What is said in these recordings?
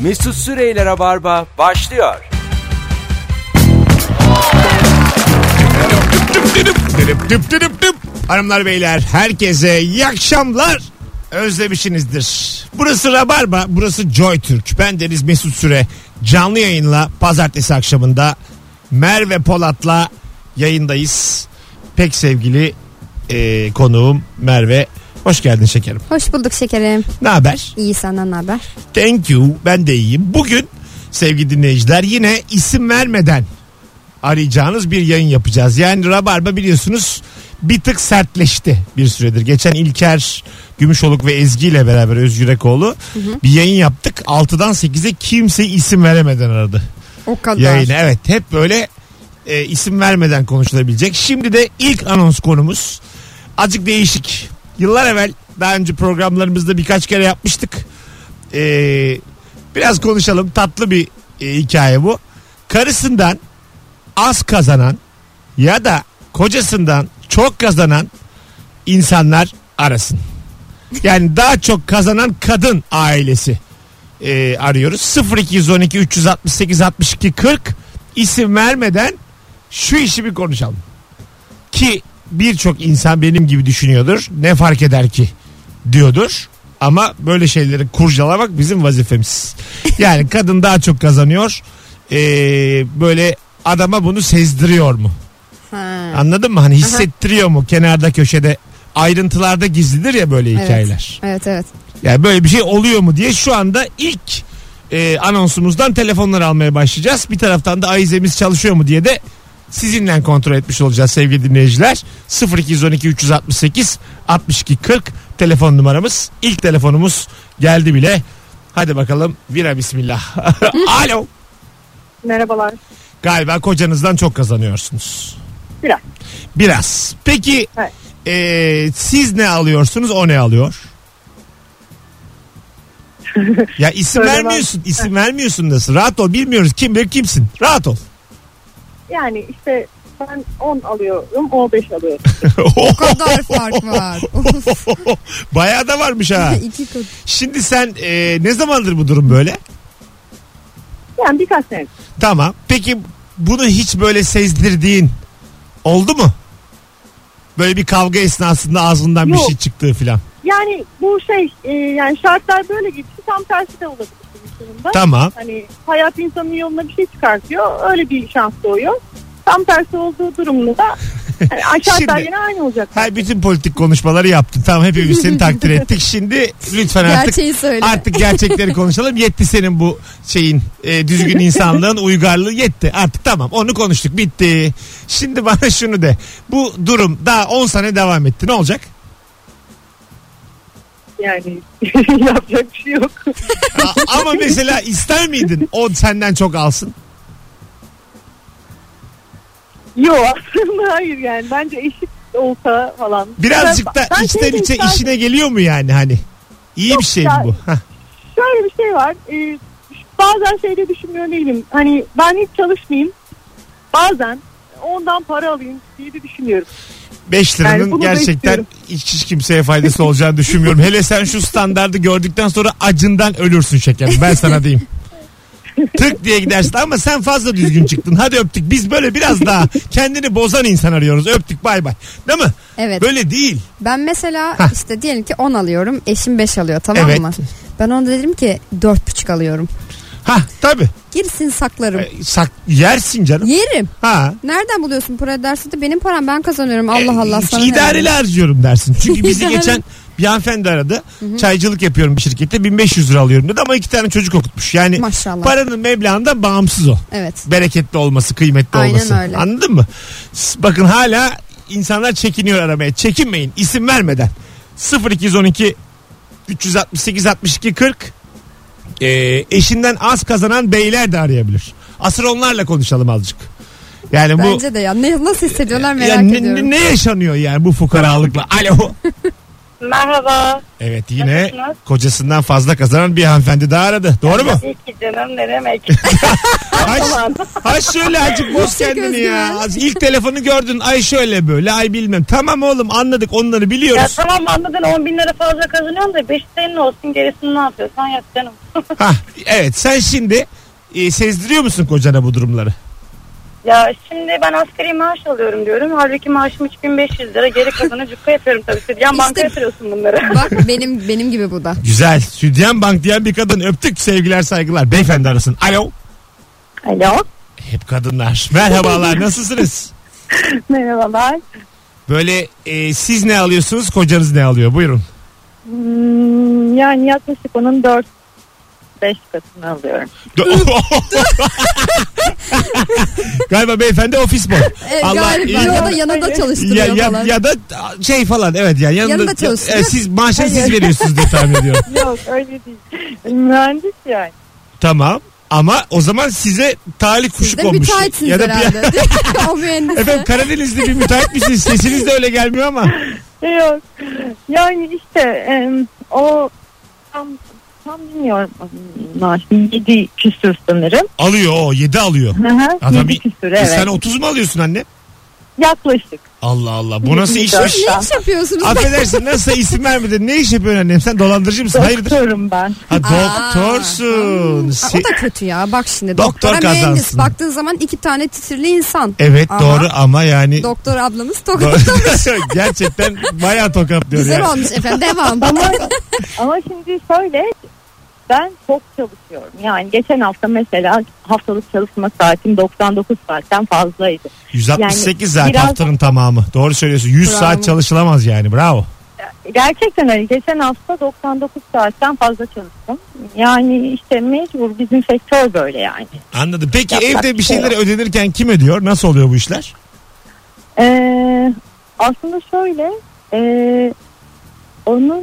Mesut Süreyler'e barba başlıyor. Düp düp düp düp. Hanımlar beyler herkese iyi akşamlar. Özlemişsinizdir. Burası Rabarba, burası Joy Türk. Ben Deniz Mesut Süre. Canlı yayınla pazartesi akşamında Merve Polat'la yayındayız. Pek sevgili e, konuğum Merve. Hoş geldin şekerim. Hoş bulduk şekerim. Ne haber? İyi senden ne haber? Thank you. Ben de iyiyim. Bugün sevgili dinleyiciler yine isim vermeden arayacağınız bir yayın yapacağız. Yani Rabarba biliyorsunuz bir tık sertleşti bir süredir. Geçen İlker Gümüşoluk ve Ezgi ile beraber Özgürekoğlu bir yayın yaptık. 6'dan 8'e kimse isim veremeden aradı O kadar. yayını. Evet hep böyle e, isim vermeden konuşulabilecek. Şimdi de ilk anons konumuz azıcık değişik. Yıllar evvel daha önce programlarımızda birkaç kere yapmıştık. E, biraz konuşalım tatlı bir e, hikaye bu. Karısından az kazanan ya da kocasından çok kazanan insanlar arasın. Yani daha çok kazanan kadın ailesi e, arıyoruz. 0212 368 62 40 isim vermeden şu işi bir konuşalım. Ki birçok insan benim gibi düşünüyordur. Ne fark eder ki diyordur. Ama böyle şeyleri kurcalamak bizim vazifemiz. Yani kadın daha çok kazanıyor. E, böyle adama bunu sezdiriyor mu? Ha. Anladın mı? Hani hissettiriyor mu kenarda köşede? Ayrıntılarda gizlidir ya böyle Evet. hikayeler. Evet evet. Yani böyle bir şey oluyor mu diye şu anda ilk e, anonsumuzdan telefonları almaya başlayacağız. Bir taraftan da Ayizemiz çalışıyor mu diye de sizinle kontrol etmiş olacağız sevgili dinleyiciler. 0212 368 62 40 telefon numaramız. İlk telefonumuz geldi bile. Hadi bakalım vira bismillah. Alo. Merhabalar. Galiba kocanızdan çok kazanıyorsunuz. Biraz. Biraz. Peki Evet. e, siz ne alıyorsunuz o ne alıyor? ya isim Söylemem. vermiyorsun. isim vermiyorsun nasıl? Rahat ol. Bilmiyoruz kim bilir kimsin. Rahat ol. Yani işte ben 10 alıyorum, o 5 alıyorum. O kadar fark var. Of. Bayağı da varmış ha. İki kat. Şimdi sen e, ne zamandır bu durum böyle? Yani birkaç sene. Tamam. Peki bunu hiç böyle sezdirdiğin oldu mu? Böyle bir kavga esnasında ağzından bir Yok. şey çıktığı filan. Yani bu şey, e, yani şartlar böyle gitti. Tam tersi de olabilir bir durumda. Tamam. Hani hayat insanın yoluna bir şey çıkartıyor. Öyle bir şans doğuyor. Tam tersi olduğu durumda da yani ay- şartlar Şimdi- yine aynı olacak. Her bütün politik konuşmaları yaptın. Tamam hepimiz seni takdir ettik. Şimdi lütfen artık Gerçeği söyle. artık gerçekleri konuşalım. Yetti senin bu şeyin e, düzgün insanlığın uygarlığı yetti. Artık tamam onu konuştuk bitti. Şimdi bana şunu de. Bu durum daha 10 sene devam etti. Ne olacak? Yani yapacak bir şey yok. A- ama mesela ister miydin o senden çok alsın? Yok aslında hayır yani. Bence eşit olsa falan. Birazcık da Ben- ben içten şey de içe isterdim. işine geliyor mu yani hani? İyi bir şey mi bu? Hah. şöyle bir şey var. Ee, bazen şeyde düşünmüyor değilim. Hani ben hiç çalışmayayım. Bazen ondan para alayım diye de düşünüyorum. 5 liranın Yani bunu da gerçekten istiyorum. hiç, hiç kimseye faydası olacağını düşünmüyorum. Hele sen şu standardı gördükten sonra acından ölürsün şekerim. Ben sana diyeyim. Tık diye gidersin ama sen fazla düzgün çıktın. Hadi öptük. Biz böyle biraz daha kendini bozan insan arıyoruz. Öptük bay bay. Değil mi? Evet. Böyle değil. Ben mesela Hah. işte diyelim ki 10 alıyorum. Eşim 5 alıyor tamam Evet. mı? Ben ona dedim ki 4,5 alıyorum. Ha tabii. Girsin saklarım. E, Sak, yersin canım. Yerim. Ha. Nereden buluyorsun para dersi de benim param ben kazanıyorum. Allah Allah E, sana. ne İdareli harcıyorum dersin. Çünkü bizi İdareli. geçen bir hanımefendi aradı. Çaycılık yapıyorum bir şirkette. 1500 lira alıyorum dedi ama iki tane çocuk okutmuş. Yani Maşallah. paranın meblağından bağımsız o. Evet. bereketli olması, kıymetli Aynen olması. öyle. Anladın mı? S- Bakın hala insanlar çekiniyor aramaya. Çekinmeyin isim vermeden. 0212 368 62 40 Ee, eşinden az kazanan beyler de arayabilir. Asıl onlarla konuşalım azıcık. Yani bu Bence de ya. Ne, nasıl hissediyorlar merak yani ne- ne, ediyorum. ne yaşanıyor yani bu fukaralıkla? Alo. Merhaba. Evet yine Nasılsınız? kocasından fazla kazanan bir hanımefendi daha aradı. Doğru mu? İyi ki canım ne demek. Ay, ay şöyle azıcık boz Yüksek kendini ya. özgüven. Az- İlk telefonu gördün ay şöyle böyle ay bilmem. Tamam oğlum anladık onları ya biliyoruz. tamam anladın 10 bin lira fazla kazanıyorsun da 5 senin olsun gerisini ne yapıyorsan yap canım. Hah, evet sen şimdi e, sezdiriyor musun kocana bu durumları? ya şimdi ben asgari maaş alıyorum diyorum. Halbuki maaşım 3500 lira geri kalanı cukka yapıyorum tabii. Stüdyen İşte- banka yatırıyorsun bunları. Bak benim benim gibi bu da. Güzel. Südyen Bank diyen bir kadın öptük sevgiler saygılar. Beyefendi arasın. Alo. Alo. Hep kadınlar. Merhabalar nasılsınız? Merhabalar. Böyle e, siz ne alıyorsunuz kocanız ne alıyor? Buyurun. Hmm, yani yaklaşık onun 4 5 katını alıyorum. Do- Galiba beyefendi ofis boy. E, galiba iyi- ya da yanında ya, çalıştırıyor ya, falan. ya da şey falan evet yani yanında, Yanında çalıştırıyor. Evet, siz maaşını siz veriyorsunuz diye tahmin ediyorum. Yok öyle değil. Mühendis yani. tamam ama o zaman size talih Siz kuşu de konmuş. müteahhitsiniz Ya da bir- herhalde. o mühendis. Efendim Karadenizli bir müteahhit misiniz? Sesiniz de öyle gelmiyor ama. Yok. Yani işte em, o tam, tam bilmiyorum. Maaş 7 küsür sanırım. Alıyor o 7 alıyor. Hı hı, Adam yedi bir- küsür E evet. Sen 30 mu alıyorsun anne? Yaklaşık. Allah Allah bu nasıl işmiş? Ne iş yapıyorsunuz? Affedersin nasıl isim vermedin? Ne iş yapıyorsun annem? Sen dolandırıcı mısın? Hayırdır? Doktorum ben. Ha Aa. doktorsun. Aa, Se- o da kötü ya. Bak şimdi Doktor doktora mühendis kazansın. baktığın zaman iki tane titrili insan. Evet Ama- doğru ama yani Doktor ablamız tokatlamış. Do- gerçekten bayağı tokatlıyor. yani. Güzel olmuş efendim. Devam. Ama, ama şimdi şöyle ben çok çalışıyorum. Yani geçen hafta mesela haftalık çalışma saatim 99 saatten fazlaydı. 168 Yani zaten biraz- haftanın tamamı. Doğru söylüyorsun. 100 Bravo. saat çalışılamaz yani. Bravo. Gerçekten öyle. Geçen hafta 99 saatten fazla çalıştım. Yani işte mecbur bizim sektör böyle yani. Anladım. Peki Yapacak evde bir bir şey şeyler ödenirken kim ödüyor? Nasıl oluyor bu işler? Ee, aslında şöyle ee, onun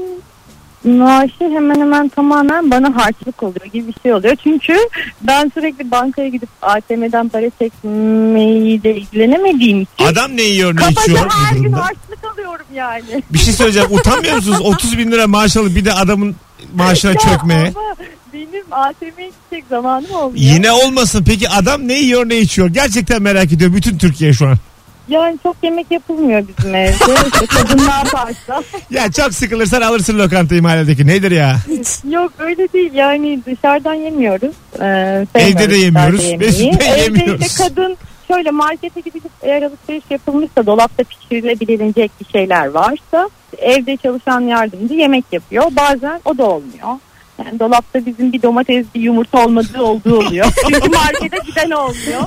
maaşı hemen hemen tamamen bana harçlık oluyor gibi bir şey oluyor. Çünkü ben sürekli bankaya gidip ATM'den para çekmeyi de ilgilenemediğim için Adam ne yiyor ne kabaca içiyor her bu gün durumda? harçlık alıyorum yani. Bir şey söyleyeceğim. Utanmıyor musunuz? 30 bin lira maaş alıp bir de adamın maaşına Ya çökmeye. ama benim ATM'ye gidecek zamanım olmuyor. Yine olmasın. Peki adam ne yiyor ne içiyor? Gerçekten merak ediyor bütün Türkiye şu an. Yani çok yemek yapılmıyor bizim evde. İşte kadınlar parça. Ya çok sıkılırsan alırsın lokantayı mahalledeki. Nedir ya? Yok öyle değil yani dışarıdan yemiyoruz. Ee, Evde de sevmiyoruz yemiyoruz. dışarıda Mesut yemeği. Bey Evde yemiyoruz. işte kadın şöyle markete gidip eğer alışveriş yapılmışsa dolapta pişirilebilecek bir şeyler varsa evde çalışan yardımcı yemek yapıyor. Bazen o da olmuyor. Yani dolapta bizim bir domates bir yumurta olmadığı olduğu oluyor. Bizim markete giden olmuyor.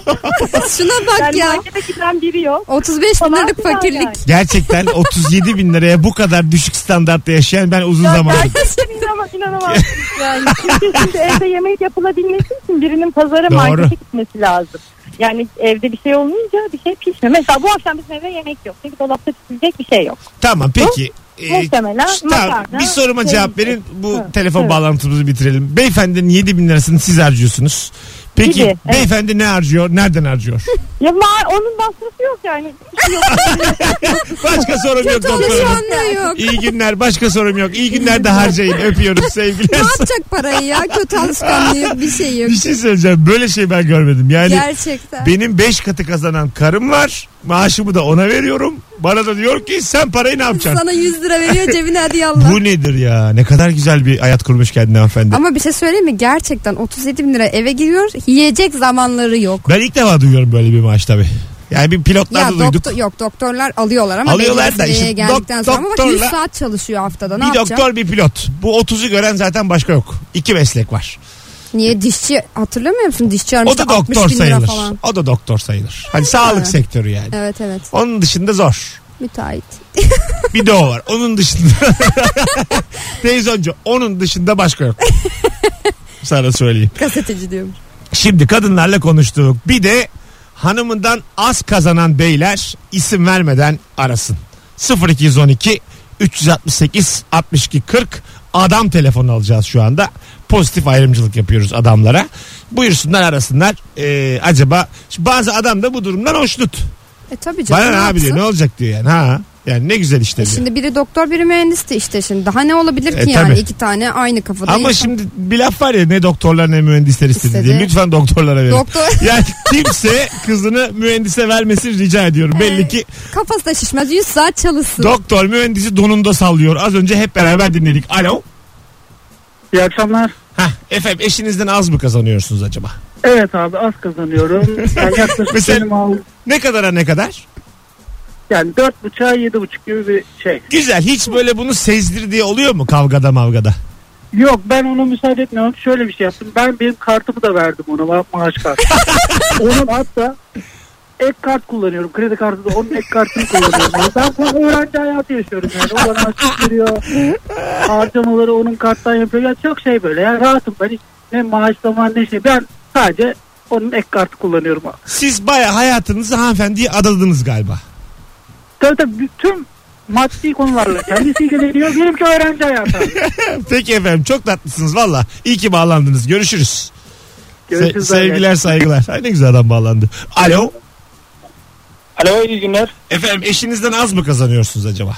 Şuna bak Yani ya. markete giden biri yok. 35 bin Falan liralık filan fakirlik. yani. Gerçekten 37 bin liraya bu kadar düşük standartta yaşayan ben uzun Ya zamandır. gerçekten inanam- inanamazsınız yani. Çünkü şimdi evde yemek yapılabilmesi için birinin pazara Doğru. markete gitmesi lazım. Yani evde bir şey olmayınca bir şey pişmiyor. Mesela bu akşam bizim evde yemek yok. Çünkü dolapta pişirecek bir şey yok. Tamam peki. Ee, Muhtemelen şu- tamam, makarna, bir soruma şey- cevap verin. Bu Hı, telefon evet. bağlantımızı bitirelim. Beyefendinin 7 bin lirasını siz harcıyorsunuz. Peki Gibi, evet. beyefendi ne harcıyor? Nereden harcıyor? Ya ma- onun masrafı yok yani. Hiçbir şey yok. Başka sorum yok Şu doktorum. anda yok. İyi günler. Başka sorum yok. İyi günler de harcayın. Öpüyoruz sevgiler. Ne yapacak parayı ya? Kötü alışkanlığı yok. Bir şey yok. bir şey söyleyeceğim. Böyle şey ben görmedim. Yani Gerçekten. benim 5 katı kazanan karım var. Maaşımı da ona veriyorum. Bana da diyor ki sen parayı ne yapacaksın? Sana 100 lira veriyor cebine hadi yallah. Bu nedir ya? Ne kadar güzel bir hayat kurmuş kendine hanımefendi. Ama bir şey söyleyeyim mi? Gerçekten 37 bin lira eve giriyor. Yiyecek zamanları yok. Ben ilk defa duyuyorum böyle bir maaş tabii. Yani bir Ya pilotlarda duyduk. doktor, yok doktorlar alıyorlar ama Alıyorlar belli da seviyeye işte geldikten dok- sonra ama bak 100 doktorla- saat çalışıyor haftada ne bir yapacak? doktor bir pilot. Bu 30'u gören zaten başka yok. İki meslek var. Niye dişçi hatırlamıyor musun? Dişçi O aramıştı da 60 doktor bin lira sayılır. falan. O da doktor sayılır. Hani sağlık Ha. sektörü yani. Evet evet Onun dışında zor. müteahhit. Bir de o var. Onun dışında. Televizyoncu. Onun dışında başka yok. Sana söyleyeyim. Gazeteci diyorum. Şimdi kadınlarla konuştuk. Bir de hanımından az kazanan beyler isim vermeden arasın. 0212 368 62 40 adam telefonu alacağız şu anda. Pozitif ayrımcılık yapıyoruz adamlara. Buyursunlar arasınlar. Ee, acaba Şimdi bazı adam da bu durumdan hoşnut. E tabii canım. Bana ne abi yapsın? diyor ne olacak diyor yani. Ha. Yani ne güzel işte. E diyor. Şimdi biri doktor biri mühendisti işte şimdi. Daha ne olabilir ki E, yani tabii. iki tane aynı kafada. Ama insan. şimdi bir laf var ya ne doktorlar ne mühendisler istedi, İstedi. diye. Lütfen doktorlara verin. Doktor yani kimse kızını mühendise vermesin rica ediyorum. Belli Evet. ki kafası da şişmez 100 saat çalışsın. doktor mühendisi donunda sallıyor. Az önce hep beraber dinledik. Alo. İyi akşamlar. Hah, efendim eşinizden az mı kazanıyorsunuz acaba? Evet abi az kazanıyorum. Yani yaklaşık Mesela- benim al, Ne kadara ne kadar? yani dört buçuğa yedi buçuk gibi bir şey. Güzel. Hiç böyle bunu sezdirdiği oluyor mu kavgada mavgada? Yok ben ona müsaade etmiyorum. Şöyle bir şey yaptım. Ben benim kartımı da verdim ona ma- maaş kartı. onun hatta ek kart kullanıyorum. Kredi kartı da onun ek kartını kullanıyorum. Yani ben tam öğrenci hayatı yaşıyorum yani. O bana açık veriyor. Harcamaları onun karttan yapıyor. Ya çok şey böyle. Yani rahatım ben. Hiç ne maaş zaman ne şey. Ben sadece onun ek kartı kullanıyorum. Siz baya hayatınızı hanımefendiye adadınız galiba. Tabii tabii bütün maddi konularla kendisi ilgileniyor. Benimki öğrenci hayatı. abi. Peki efendim çok tatlısınız valla. İyi ki bağlandınız. Görüşürüz. Görüşürüz. Se- sevgiler saygılar. Ay ne güzel adam bağlandı. Alo. Alo iyi günler. Efendim eşinizden az mı kazanıyorsunuz acaba?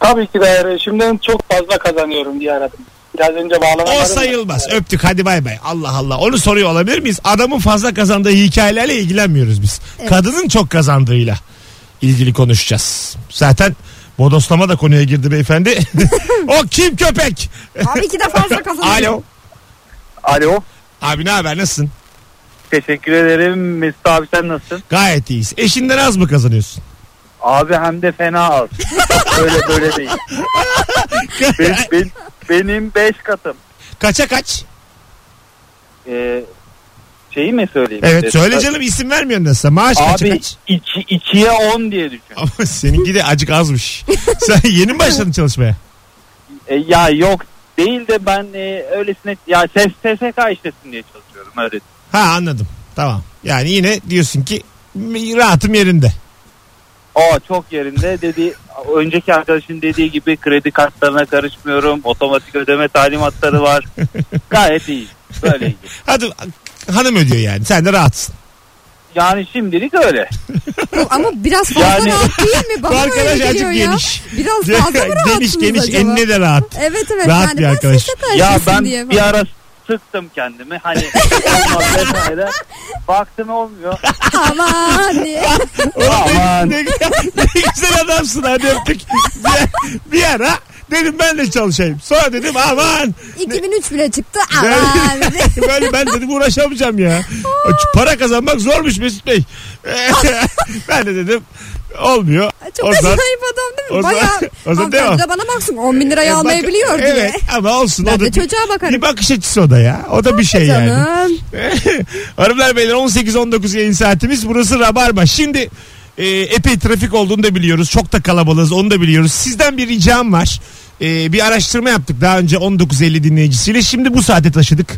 Tabii ki de şimdiden çok fazla kazanıyorum diye aradım. Biraz önce bağlamadım. O sayılmaz. Öptük hadi bay bay. Allah Allah. Onu soruyor olabilir miyiz? Adamın fazla kazandığı hikayelerle ilgilenmiyoruz biz. Evet. Kadının çok kazandığıyla ilgili konuşacağız. Zaten bodoslama da konuya girdi beyefendi. o kim köpek? Abi iki de fazla kazanıyor. Alo. Alo. Abi ne haber nasılsın? Teşekkür ederim. Mesut abi sen nasılsın? Gayet iyiyiz. Eşinden az mı kazanıyorsun? Abi hem de fena az. böyle böyle değil. Ben- ben- benim 5 katım. Kaça kaç? Ee, şeyi mi söyleyeyim? Evet Ee, söyle canım isim vermiyorsun nasılsa. Maaş kaça Abi kaç? 2'ye 10 diye düşün. Ama seninki de acık azmış. Sen yeni mi başladın çalışmaya? E, ya yok değil de ben e, öylesine ya ses SSK işlesin diye çalışıyorum öyle. Ha anladım. Tamam. Yani yine diyorsun ki rahatım yerinde. Aa çok yerinde dedi. Önceki arkadaşın dediği gibi kredi kartlarına karışmıyorum. Otomatik ödeme talimatları var. Gayet iyi. Böyle iyi. Hadi hanım ödüyor yani. Sen de rahatsın. Yani şimdilik öyle. Bu- Ama biraz fazla Yani- rahat değil mi? Bu Bana arkadaş öyle geliyor azıcık ya. geniş. Biraz fazla mı geniş rahatsınız geniş acaba? enine de rahat. Evet evet. Rahat yani bir ben arkadaş. sesle ya karşısın ben diye bir ara sıktım kendimi. Hani olmaz vesaire. Baktım olmuyor. Aman diye. Aman. Ne, güzel- ne güzel adamsın hadi öptük. Bir, bir ara dedim ben de çalışayım. Sonra dedim aman. 2003 bile çıktı. Aman diye. Böyle ben dedim uğraşamayacağım ya. Para kazanmak zormuş Mesut Bey. ben de dedim olmuyor. Çok Oradan- acayip adam değil mi? o zaman- Bayağı. o zaman devam. hanımefendi de bana baksın 10 bin E, lirayı bak- almayabiliyor diye. Evet ama olsun. Ben o da de çocuğa bakarım. Bir bakış açısı o da ya. O da bir şey yani. Canım. Hanımlar beyler 18-19 yayın saatimiz. Burası Rabarba. Şimdi e, epey trafik olduğunu da biliyoruz. Çok da kalabalığız onu da biliyoruz. Sizden bir ricam var. E, bir araştırma yaptık daha önce 19.50 dinleyicisiyle. Şimdi bu saate taşıdık.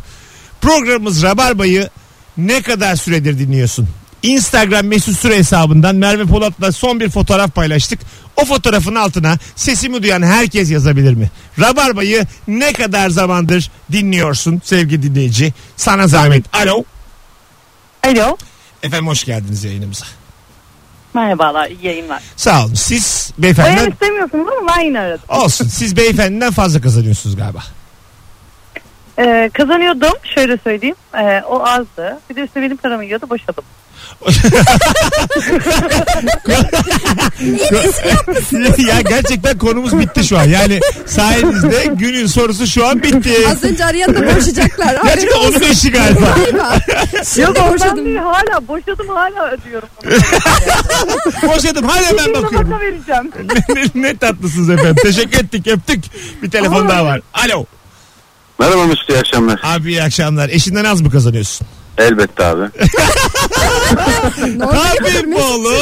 Programımız Rabarba'yı ne kadar süredir dinliyorsun? Instagram mesut süre hesabından Merve Polat'la son bir fotoğraf paylaştık. O fotoğrafın altına sesimi duyan herkes yazabilir mi? Rabarba'yı ne kadar zamandır dinliyorsun sevgili dinleyici? Sana zahmet. Alo. Alo. Efendim hoş geldiniz yayınımıza. Merhabalar. iyi yayınlar. Sağ olun. Siz Bayan beyefendiden istemiyorsunuz ama ben yine aradım. olsun. Siz beyefendiden fazla kazanıyorsunuz galiba. Ee, kazanıyordum. Şöyle söyleyeyim. Ee, o azdı. Bir de üstüne benim paramı yiyordu. Boşadım. ya gerçekten konumuz bitti şu an. Yani sayenizde günün sorusu şu an bitti. Az önce arayan da boşacaklar. Abi, Gerçekten onun eşi galiba. galiba. Şimdi Ben boşadım. de hala boşadım hala ödüyorum. Boşadım. Hala ben bakıyorum. Bakıyorum. vereceğim. ne, ne tatlısınız efendim. Teşekkür ettik öptük. Bir telefon daha var. Alo. Merhaba Mesut iyi akşamlar. Abi iyi akşamlar. Eşinden az mı kazanıyorsun? Elbette abi. Tabii mi oğlum?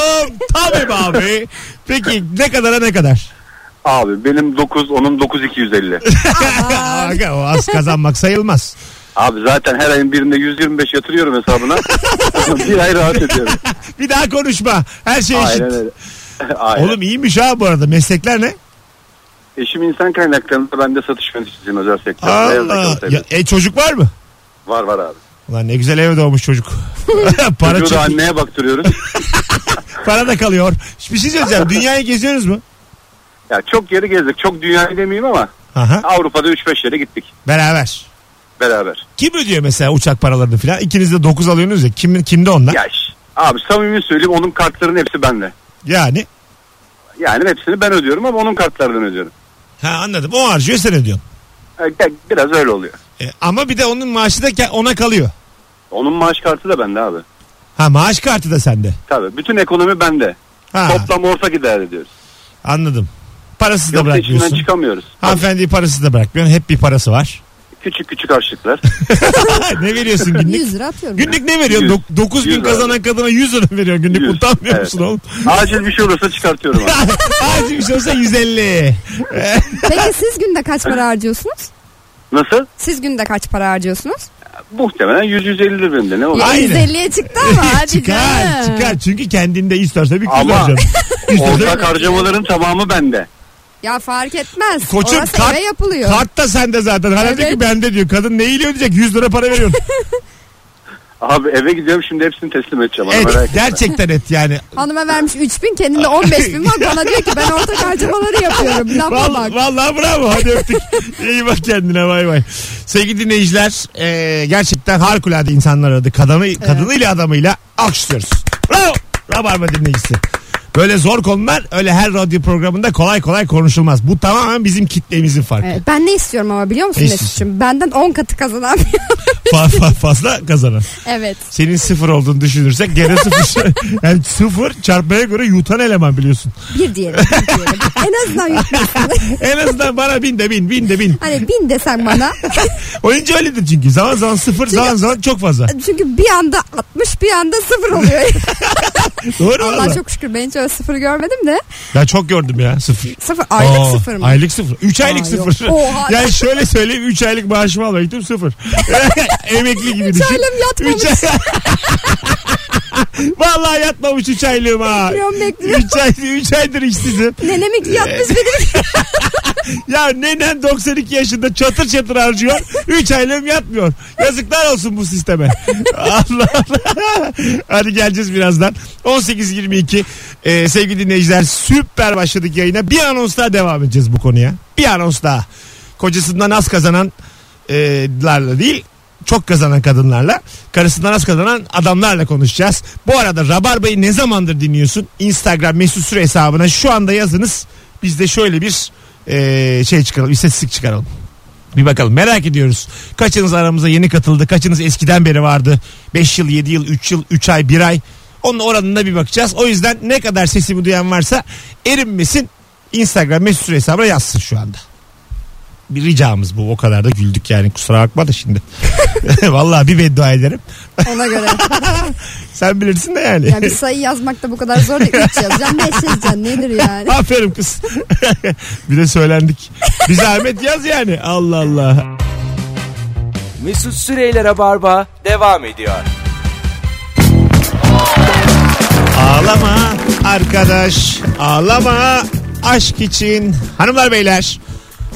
Tabii mi abi? Peki ne kadara ne kadar? Abi benim 9 onun 9 250. Aga, o az kazanmak sayılmaz. Abi zaten her ayın birinde 125 yatırıyorum hesabına. bir ay rahat ediyorum. Bir daha konuşma. Her şey eşit. Aynen öyle. Aynen. Oğlum iyiymiş ha bu arada. Meslekler ne? Eşim insan kaynaklarında ben de satış yöneticisiyim özel sektörde. Beyaz Allah. yakalı Ya, sayılır. e çocuk var mı? Var var abi. Ulan ne güzel eve doğmuş çocuk. Para Çocuğu çok, da anneye baktırıyoruz. Para da kalıyor. Bir şey söyleyeceğim. Dünyayı geziyoruz mu? Ya çok yeri gezdik. Çok dünyayı demeyeyim ama Aha. Avrupa'da 3-5 yere gittik Beraber. beraber. Kim ödüyor mesela uçak paralarını falan? İkiniz de 9 alıyorsunuz ya. Kim, kimde onlar? Ya şş, abi samimi söyleyeyim onun kartlarının hepsi bende. Yani. Yani hepsini ben ödüyorum ama onun kartlarından ödüyorum. Ha anladım. O harcıyor sen ödüyorsun. E, de- Biraz öyle oluyor. E, ama bir de onun maaşı da ke- ona kalıyor. Onun maaş kartı da bende abi. Ha maaş kartı da sende. Tabii bütün ekonomi bende. Ha Toplam ortak idare ediyoruz. anladım. Parasız da Yoksa içinden bırakmıyorsun. çıkamıyoruz. Hanımefendiyi parasız da bırakmıyorsun. Hep bir parası var. Küçük küçük harçlıklar. ne veriyorsun günlük? 100 lira atıyorum. Günlük ne veriyorsun? Yüz. Dok- 9000 Yüz abi. kazanan kadına 100 lira veriyorsun günlük. Yüz. Utanmıyor Evet. musun oğlum? Acil bir şey olursa çıkartıyorum abi. Acil bir şey olsa 150. Peki siz günde kaç para harcıyorsunuz? Nasıl? Siz günde kaç para harcıyorsunuz? Muhtemelen 100-150 lira bende ne olur? Ya Aynen. 150'ye çıktı ama hadi çıkar canım. çıkar. Çünkü kendinde isterse bir kız Ama- alacaksın. Ortak harcamaların tamamı bende. Ya fark etmez. Koçum Orası kart- eve yapılıyor. Kart da sende zaten. Hala diyor ki Evet. bende diyor. Kadın neyle ödeyecek? 100 lira para veriyorsun. Abi eve gidiyorum şimdi hepsini teslim edeceğim. ama merak et. etme. Gerçekten et yani. Hanıma vermiş 3000 kendinde 15000 var bana diyor ki ben ortak harcamaları yapıyorum. Lafa bak. Vallahi, vallahi bravo hadi öptük. İyi bak kendine bay bay. Sevgili dinleyiciler e, gerçekten harikulade insanlar aradı. Kadını, Kadınıyla adamıyla alkışlıyoruz. Bravo. Rabarba dinleyicisi. Böyle zor konular öyle her radyo programında kolay kolay konuşulmaz. Bu tamamen bizim kitlemizin farkı. Evet, Ee, ben ne istiyorum ama biliyor musun Ne Mesut'cum? Benden 10 katı kazanan bir- Fa- fa- fazla kazanan. Evet. Senin sıfır olduğunu düşünürsek gene sıfır. yani sıfır çarpmaya göre yutan eleman biliyorsun. Bir diyelim. Bir diyelim. en azından yutmasın. En azından bana bin de bin bin de bin. hani bin desen bana. Oyuncu öyledir çünkü. Zaman zaman sıfır zaman zaman çok fazla. Çünkü bir anda 60 bir anda sıfır oluyor. Doğru Allah valla. çok şükür ben hiç öyle sıfır görmedim de. Ben çok gördüm ya sıfır. Sıfır aylık Oo, sıfır mı? Aylık sıfır. Üç aylık Aa, yok. sıfır. Oha. Yani şöyle söyleyeyim üç aylık maaşımı almaya gittim sıfır. Emekli gibi düşün. aylığım yatmamış. Üç ay- Vallahi yatmamış üç aylığım ha. Bekliyorum, bekliyorum. Üç, ay, üç aydır işsizim. Nenem iki Ee. yatmış benim. Ya nenem 92 yaşında çatır çatır harcıyor. 3 aylığım yatmıyor. Yazıklar olsun bu sisteme. Allah Allah. Hadi geleceğiz birazdan. 18.22 Ee, sevgili dinleyiciler süper başladık yayına. Bir anons daha devam edeceğiz bu konuya. Bir anons daha. Kocasından az kazanan e, larla değil çok kazanan kadınlarla karısından az kazanan adamlarla konuşacağız. Bu arada Rabarba'yı ne zamandır dinliyorsun? Instagram mesut süre hesabına şu anda yazınız. Biz de şöyle bir e, şey çıkaralım istatistik çıkaralım. Bir bakalım merak ediyoruz. Kaçınız aramıza yeni katıldı? Kaçınız eskiden beri vardı? 5 yıl, 7 yıl, 3 yıl, 3 ay, 1 ay. Onun oranına bir bakacağız. O yüzden ne kadar sesimi duyan varsa erinmesin. Instagram mesut süre hesabına yazsın şu anda bir ricamız bu. O kadar da güldük yani kusura bakma da şimdi. Vallahi bir beddua ederim. Ona göre. Sen bilirsin de yani. Yani bir sayı yazmak da bu kadar zor değil. 3 yazacaksın 5 yazacaksın nedir yani? Aferin kız. bir de söylendik. Bir zahmet yaz yani. Allah Allah. Mesut Süreyler'e barba devam ediyor. Ağlama arkadaş. Ağlama aşk için. Hanımlar beyler.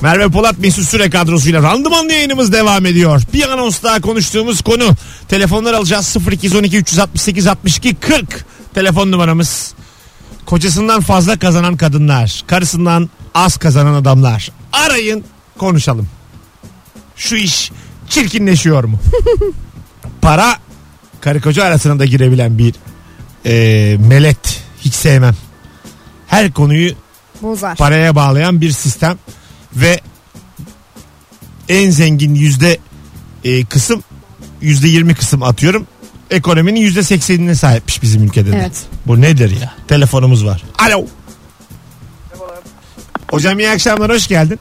Merve Polat Mesut Süre kadrosuyla randımanlı yayınımız devam ediyor. Bir anons daha konuştuğumuz konu. Telefonlar alacağız 0212 368 62 40 telefon numaramız. Kocasından fazla kazanan kadınlar, karısından az kazanan adamlar. Arayın, konuşalım. Şu iş çirkinleşiyor mu? Para karı koca arasına da girebilen bir e, melet hiç sevmem. Her konuyu Bozar. paraya bağlayan bir sistem ve en zengin yüzde e, kısım yüzde yirmi kısım atıyorum ekonominin yüzde seksenine sahipmiş bizim ülkede de. Evet. Bu nedir ya? Telefonumuz var. Alo. Hocam iyi akşamlar hoş geldin.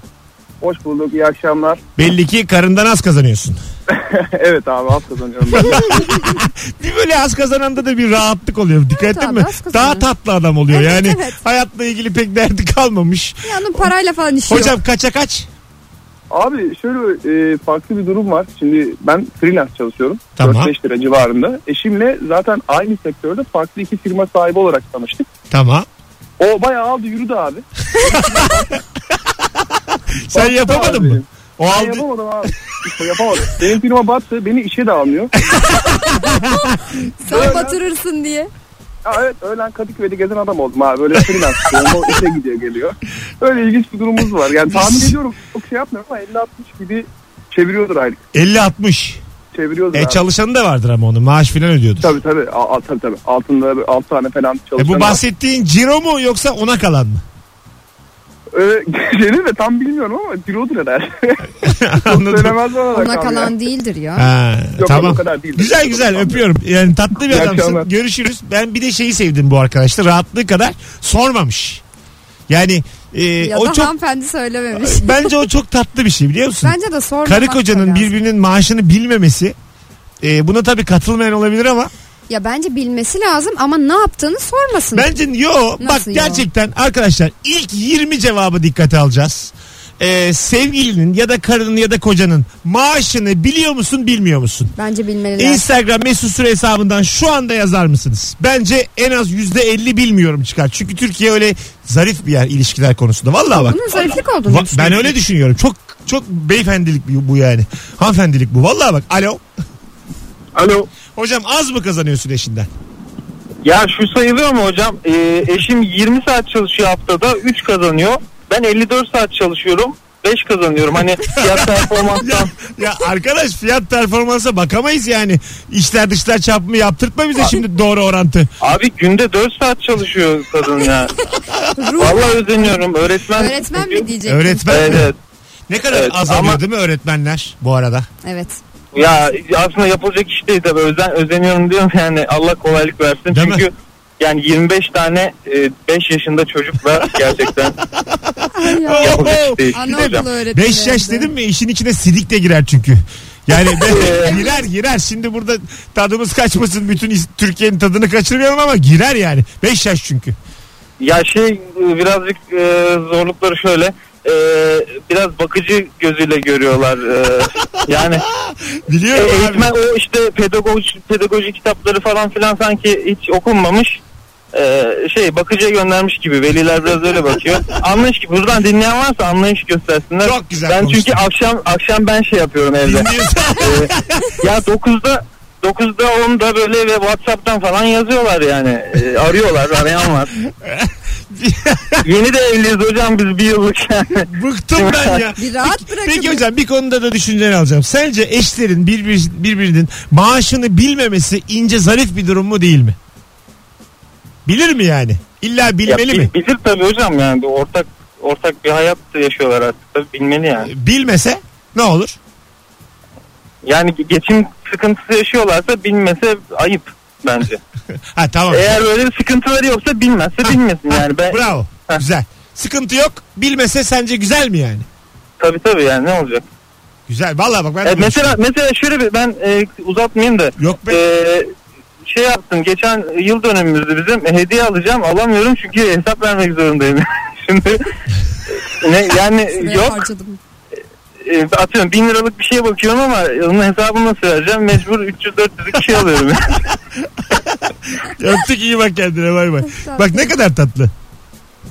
Hoş bulduk, iyi akşamlar. Belli ki karından az kazanıyorsun. evet abi az kazanıyorum. Bir böyle az kazananda da bir rahatlık oluyor. Dikkat ettin abi, mi? az kazanan. Daha tatlı adam oluyor. Evet, yani evet. hayatla ilgili pek derdi kalmamış. Yani onun parayla falan işi yok. Hocam kaça kaç? abi şöyle e, farklı bir durum var. Şimdi ben freelance çalışıyorum. Tamam. 4-5 lira civarında. Eşimle zaten aynı sektörde farklı iki firma sahibi olarak tanıştık. Tamam. O bayağı aldı yürüdü abi. Sen yapamadın abi. mı? O Ben aldı. yapamadım abi. yapamadım. Benim firma battı. Beni işe de almıyor. Sen batırırsın diye. Aa, evet öğlen Kadıköy'de gezen adam oldum abi. Böyle freelance. Yolda işe gidiyor geliyor. Öyle ilginç bir durumumuz var. Yani tahmin ediyorum çok şey yapmıyorum ama 50-60 gibi çeviriyordur aylık. 50-60. Çeviriyordur E abi. çalışanı da vardır ama onun maaş falan ödüyordur. Tabii tabii. Aa, aa, tabii tabii. Altında 6 tane falan E çalışan. bu bahsettiğin ciro mu yoksa ona kalan mı? Ee, şeyini de tam bilmiyorum ama cirodur herhalde. Anladım. Söylemez bana da Ona kalmıyor. kalan değildir ya. Ha, Yok, tamam. o kadar değil. Güzel güzel öpüyorum. Yani tatlı bir İyi akşamlar. adamsın. Görüşürüz. Ben bir de şeyi sevdim bu arkadaşta. Rahatlığı kadar sormamış. Yani e, ya o da çok hanımefendi söylememiş. bence o çok tatlı bir şey biliyor musun? Bence de sormamak Karı da kocanın lazım. birbirinin maaşını bilmemesi e, buna tabii katılmayan olabilir ama Ya bence bilmesi lazım ama ne yaptığını sormasın. Bence yo bak yo? gerçekten arkadaşlar ilk 20 cevabı dikkate alacağız. Ee, sevgilinin ya da karının ya da kocanın maaşını biliyor musun bilmiyor musun? Bence bilmeliler. Instagram mesut süre hesabından şu anda yazar mısınız? Bence en az %50 bilmiyorum çıkar. Çünkü Türkiye öyle zarif bir yer ilişkiler konusunda. Vallahi bak. Bunun zariflik olduğunu Va- ben düşünüyorum. öyle düşünüyorum. Çok çok beyefendilik bu bu yani. Hanımefendilik bu. Vallahi bak. Alo. Alo. Hocam az mı kazanıyorsun eşinden? Ya şu sayılıyor mu hocam? Ee, eşim 20 saat çalışıyor haftada 3 kazanıyor. Ben 54 saat çalışıyorum 5 kazanıyorum. Hani fiyat Ya, performanstan ya arkadaş fiyat performansa bakamayız yani. İşler dışlar çarpımı yaptırtma bize şimdi doğru orantı. Abi günde 4 saat çalışıyor kadın ya. Vallahi özeniyorum. Öğretmen Öğretmen mi diyecek? Öğretmen Evet, mi? evet. Ne kadar Evet, azalıyor ama- değil mi öğretmenler bu arada? Evet. Ya aslında yapılacak iş değil tabii. Özen, özeniyorum diyorum yani Allah kolaylık versin. Değil mi? Çünkü yani 25 tane 5 yaşında çocuk var gerçekten. Ay ya. yapılacak iş şey değil hocam. Anaokulu öğretmeni. 5 yaş dedim mi işin içine sidik de girer çünkü. Yani de- girer girer. Şimdi burada tadımız kaçmasın. Bütün is- Türkiye'nin tadını kaçırmayalım ama girer yani. 5 yaş çünkü. Ya şey e, birazcık e, zorlukları şöyle. e, biraz bakıcı gözüyle görüyorlar. e, yani e, Biliyorum abi. eğitmen o işte pedagog pedagoji kitapları falan filan sanki hiç okunmamış. E, şey bakıcıya göndermiş gibi veliler biraz öyle bakıyor. Anlayış gibi buradan dinleyen varsa anlayış göstersinler. Çok güzel Ben çünkü konuştun. akşam akşam ben şey yapıyorum evde. Dinliyorsun. E, ya 9'da 9'da 10'da böyle ve WhatsApp'tan falan yazıyorlar yani. E, arıyorlar, arayan var. Yeni de evliyiz hocam biz bir yıllık yani. Bıktım ben ya. Bir rahat bırakın. Peki hocam bir konuda da düşünceni alacağım. Sence eşlerin birbir, birbirinin maaşını bilmemesi ince zarif bir durum mu değil mi? Bilir mi yani? İlla bilmeli Ya, mi? bil- Bilir tabii hocam yani bir ortak ortak bir hayat yaşıyorlar artık tabii bilmeli E- yani. Bilmese ne olur? Yani geçim sıkıntısı yaşıyorlarsa bilmese ayıp bence. Ha tamam. Eğer öyle bir sıkıntıları yoksa bilmezse bilmesin yani. Ben, Bravo. Heh. Güzel. Sıkıntı yok. Bilmese sence güzel mi yani? tabii tabii yani ne olacak. Güzel. Vallahi bak ben de E, mesela düşünüyorum. mesela şöyle bir ben e, uzatmayayım da Yok be. e, şey yaptım geçen yıl dönümümüzdü bizim E, hediye alacağım alamıyorum çünkü hesap vermek zorundayım. Şimdi e, ne, yani Buraya yok harcadım. E, atıyorum bin liralık bir şeye bakıyorum ama onun hesabını nasıl vereceğim mecbur 300-400'lük bir şey alıyorum. Öptük iyi bak kendine bay bay. Tatlı. bak ne kadar tatlı.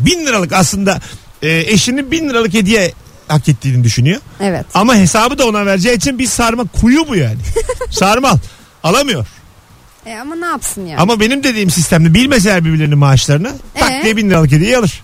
Bin liralık aslında e, eşinin bin liralık hediye hak ettiğini düşünüyor. Evet. Ama hesabı da ona vereceği için bir sarma kuyu bu yani. Sarmal. Alamıyor. E ama ne yapsın ya? Ama benim dediğim sistemde bilmeseler birbirlerinin maaşlarını tak Ee? diye bin liralık hediye alır.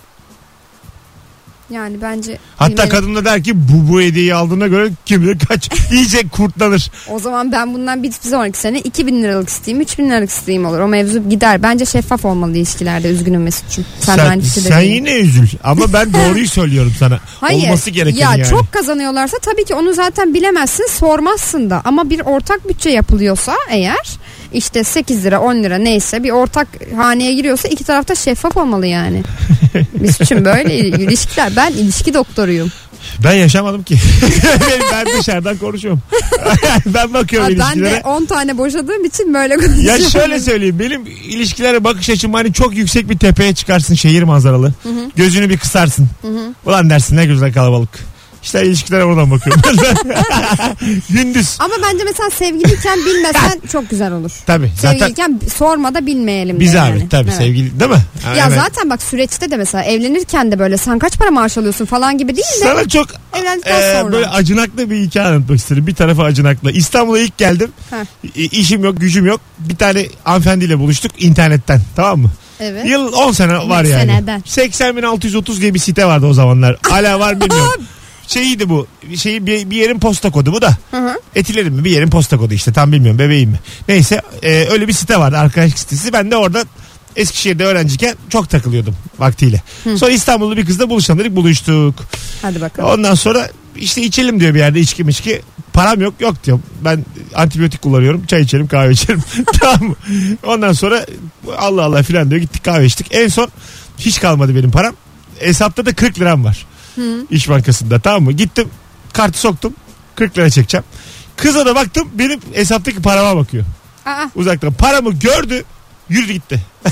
Yani bence Hatta bilmeli. kadın da der ki bu bu hediyeyi aldığına göre kim bilir kaç iyice kurtlanır. O zaman ben bundan bir bir sonraki sene 2000 liralık isteyeyim 3000 liralık isteyeyim olur. O mevzu gider. Bence şeffaf olmalı ilişkilerde üzgünüm Mesut'cum. Sen, sen, aynı fikirde sen değilim. yine üzül ama ben doğruyu söylüyorum sana. Hayır. Olması gereken ya yani. çok kazanıyorlarsa tabii ki onu zaten bilemezsin sormazsın da ama bir ortak bütçe yapılıyorsa eğer işte 8 lira 10 lira neyse bir ortak haneye giriyorsa iki tarafta şeffaf olmalı yani. Mesut'cum böyle ilişkiler ben ilişki doktoruyum. Ben yaşamadım ki. ben, ben dışarıdan konuşuyorum. ben bakıyorum Ha, ben ilişkilere. de 10 tane boşadığım için böyle konuşuyorum. Ya şöyle söyleyeyim benim ilişkilere bakış açım hani çok yüksek bir tepeye çıkarsın şehir manzaralı. Gözünü bir kısarsın. Ulan dersin ne güzel kalabalık. İşte ilişkilere oradan bakıyorum. Gündüz. Ama bence mesela sevgiliyken bilmesen çok güzel olur. Tabii. Zaten Sevgiliyken sorma da bilmeyelim de biz yani. abi tabii Evet. sevgili değil mi? Ha, Ya hemen. zaten bak süreçte de mesela evlenirken de böyle sen kaç para maaş alıyorsun falan gibi değil de Sana çok evlendikten Ee, sonra. böyle acınaklı bir hikaye anlatmak istedim. Bir tarafa acınaklı. İstanbul'a ilk geldim. Heh. İ- İşim yok, gücüm yok. Bir tane hanımefendiyle buluştuk internetten. Tamam mı? Evet. Yıl 10 sene var Bir yani. seneden. 80.630 diye bir site vardı o zamanlar. Hala var bilmiyorum. Şeyiydi bu. Şeyi bir, bir yerin posta kodu bu da. Hı hı. Etilerim mi bir yerin posta kodu işte tam bilmiyorum bebeğim mi. Neyse e, öyle bir site vardı arkadaşlık sitesi. Ben de orada Eskişehir'de öğrenciyken çok takılıyordum vaktiyle. Sonra İstanbul'da bir kızla buluşalım dedik buluştuk. Hadi bakalım. Ondan sonra işte içelim diyor bir yerde içki içki. Param yok yok diyor. Ben antibiyotik kullanıyorum. Çay içelim kahve içelim. tamam mı? Ondan sonra Allah Allah filan diyor. Gittik kahve içtik. En son hiç kalmadı benim param. Hesapta da 40 liram var. İş bankasında tamam mı? Gittim kartı soktum. 40 lira çekeceğim. Kıza da baktım benim hesaptaki parama bakıyor. Aa, Uzaktan paramı gördü yürüdü gitti.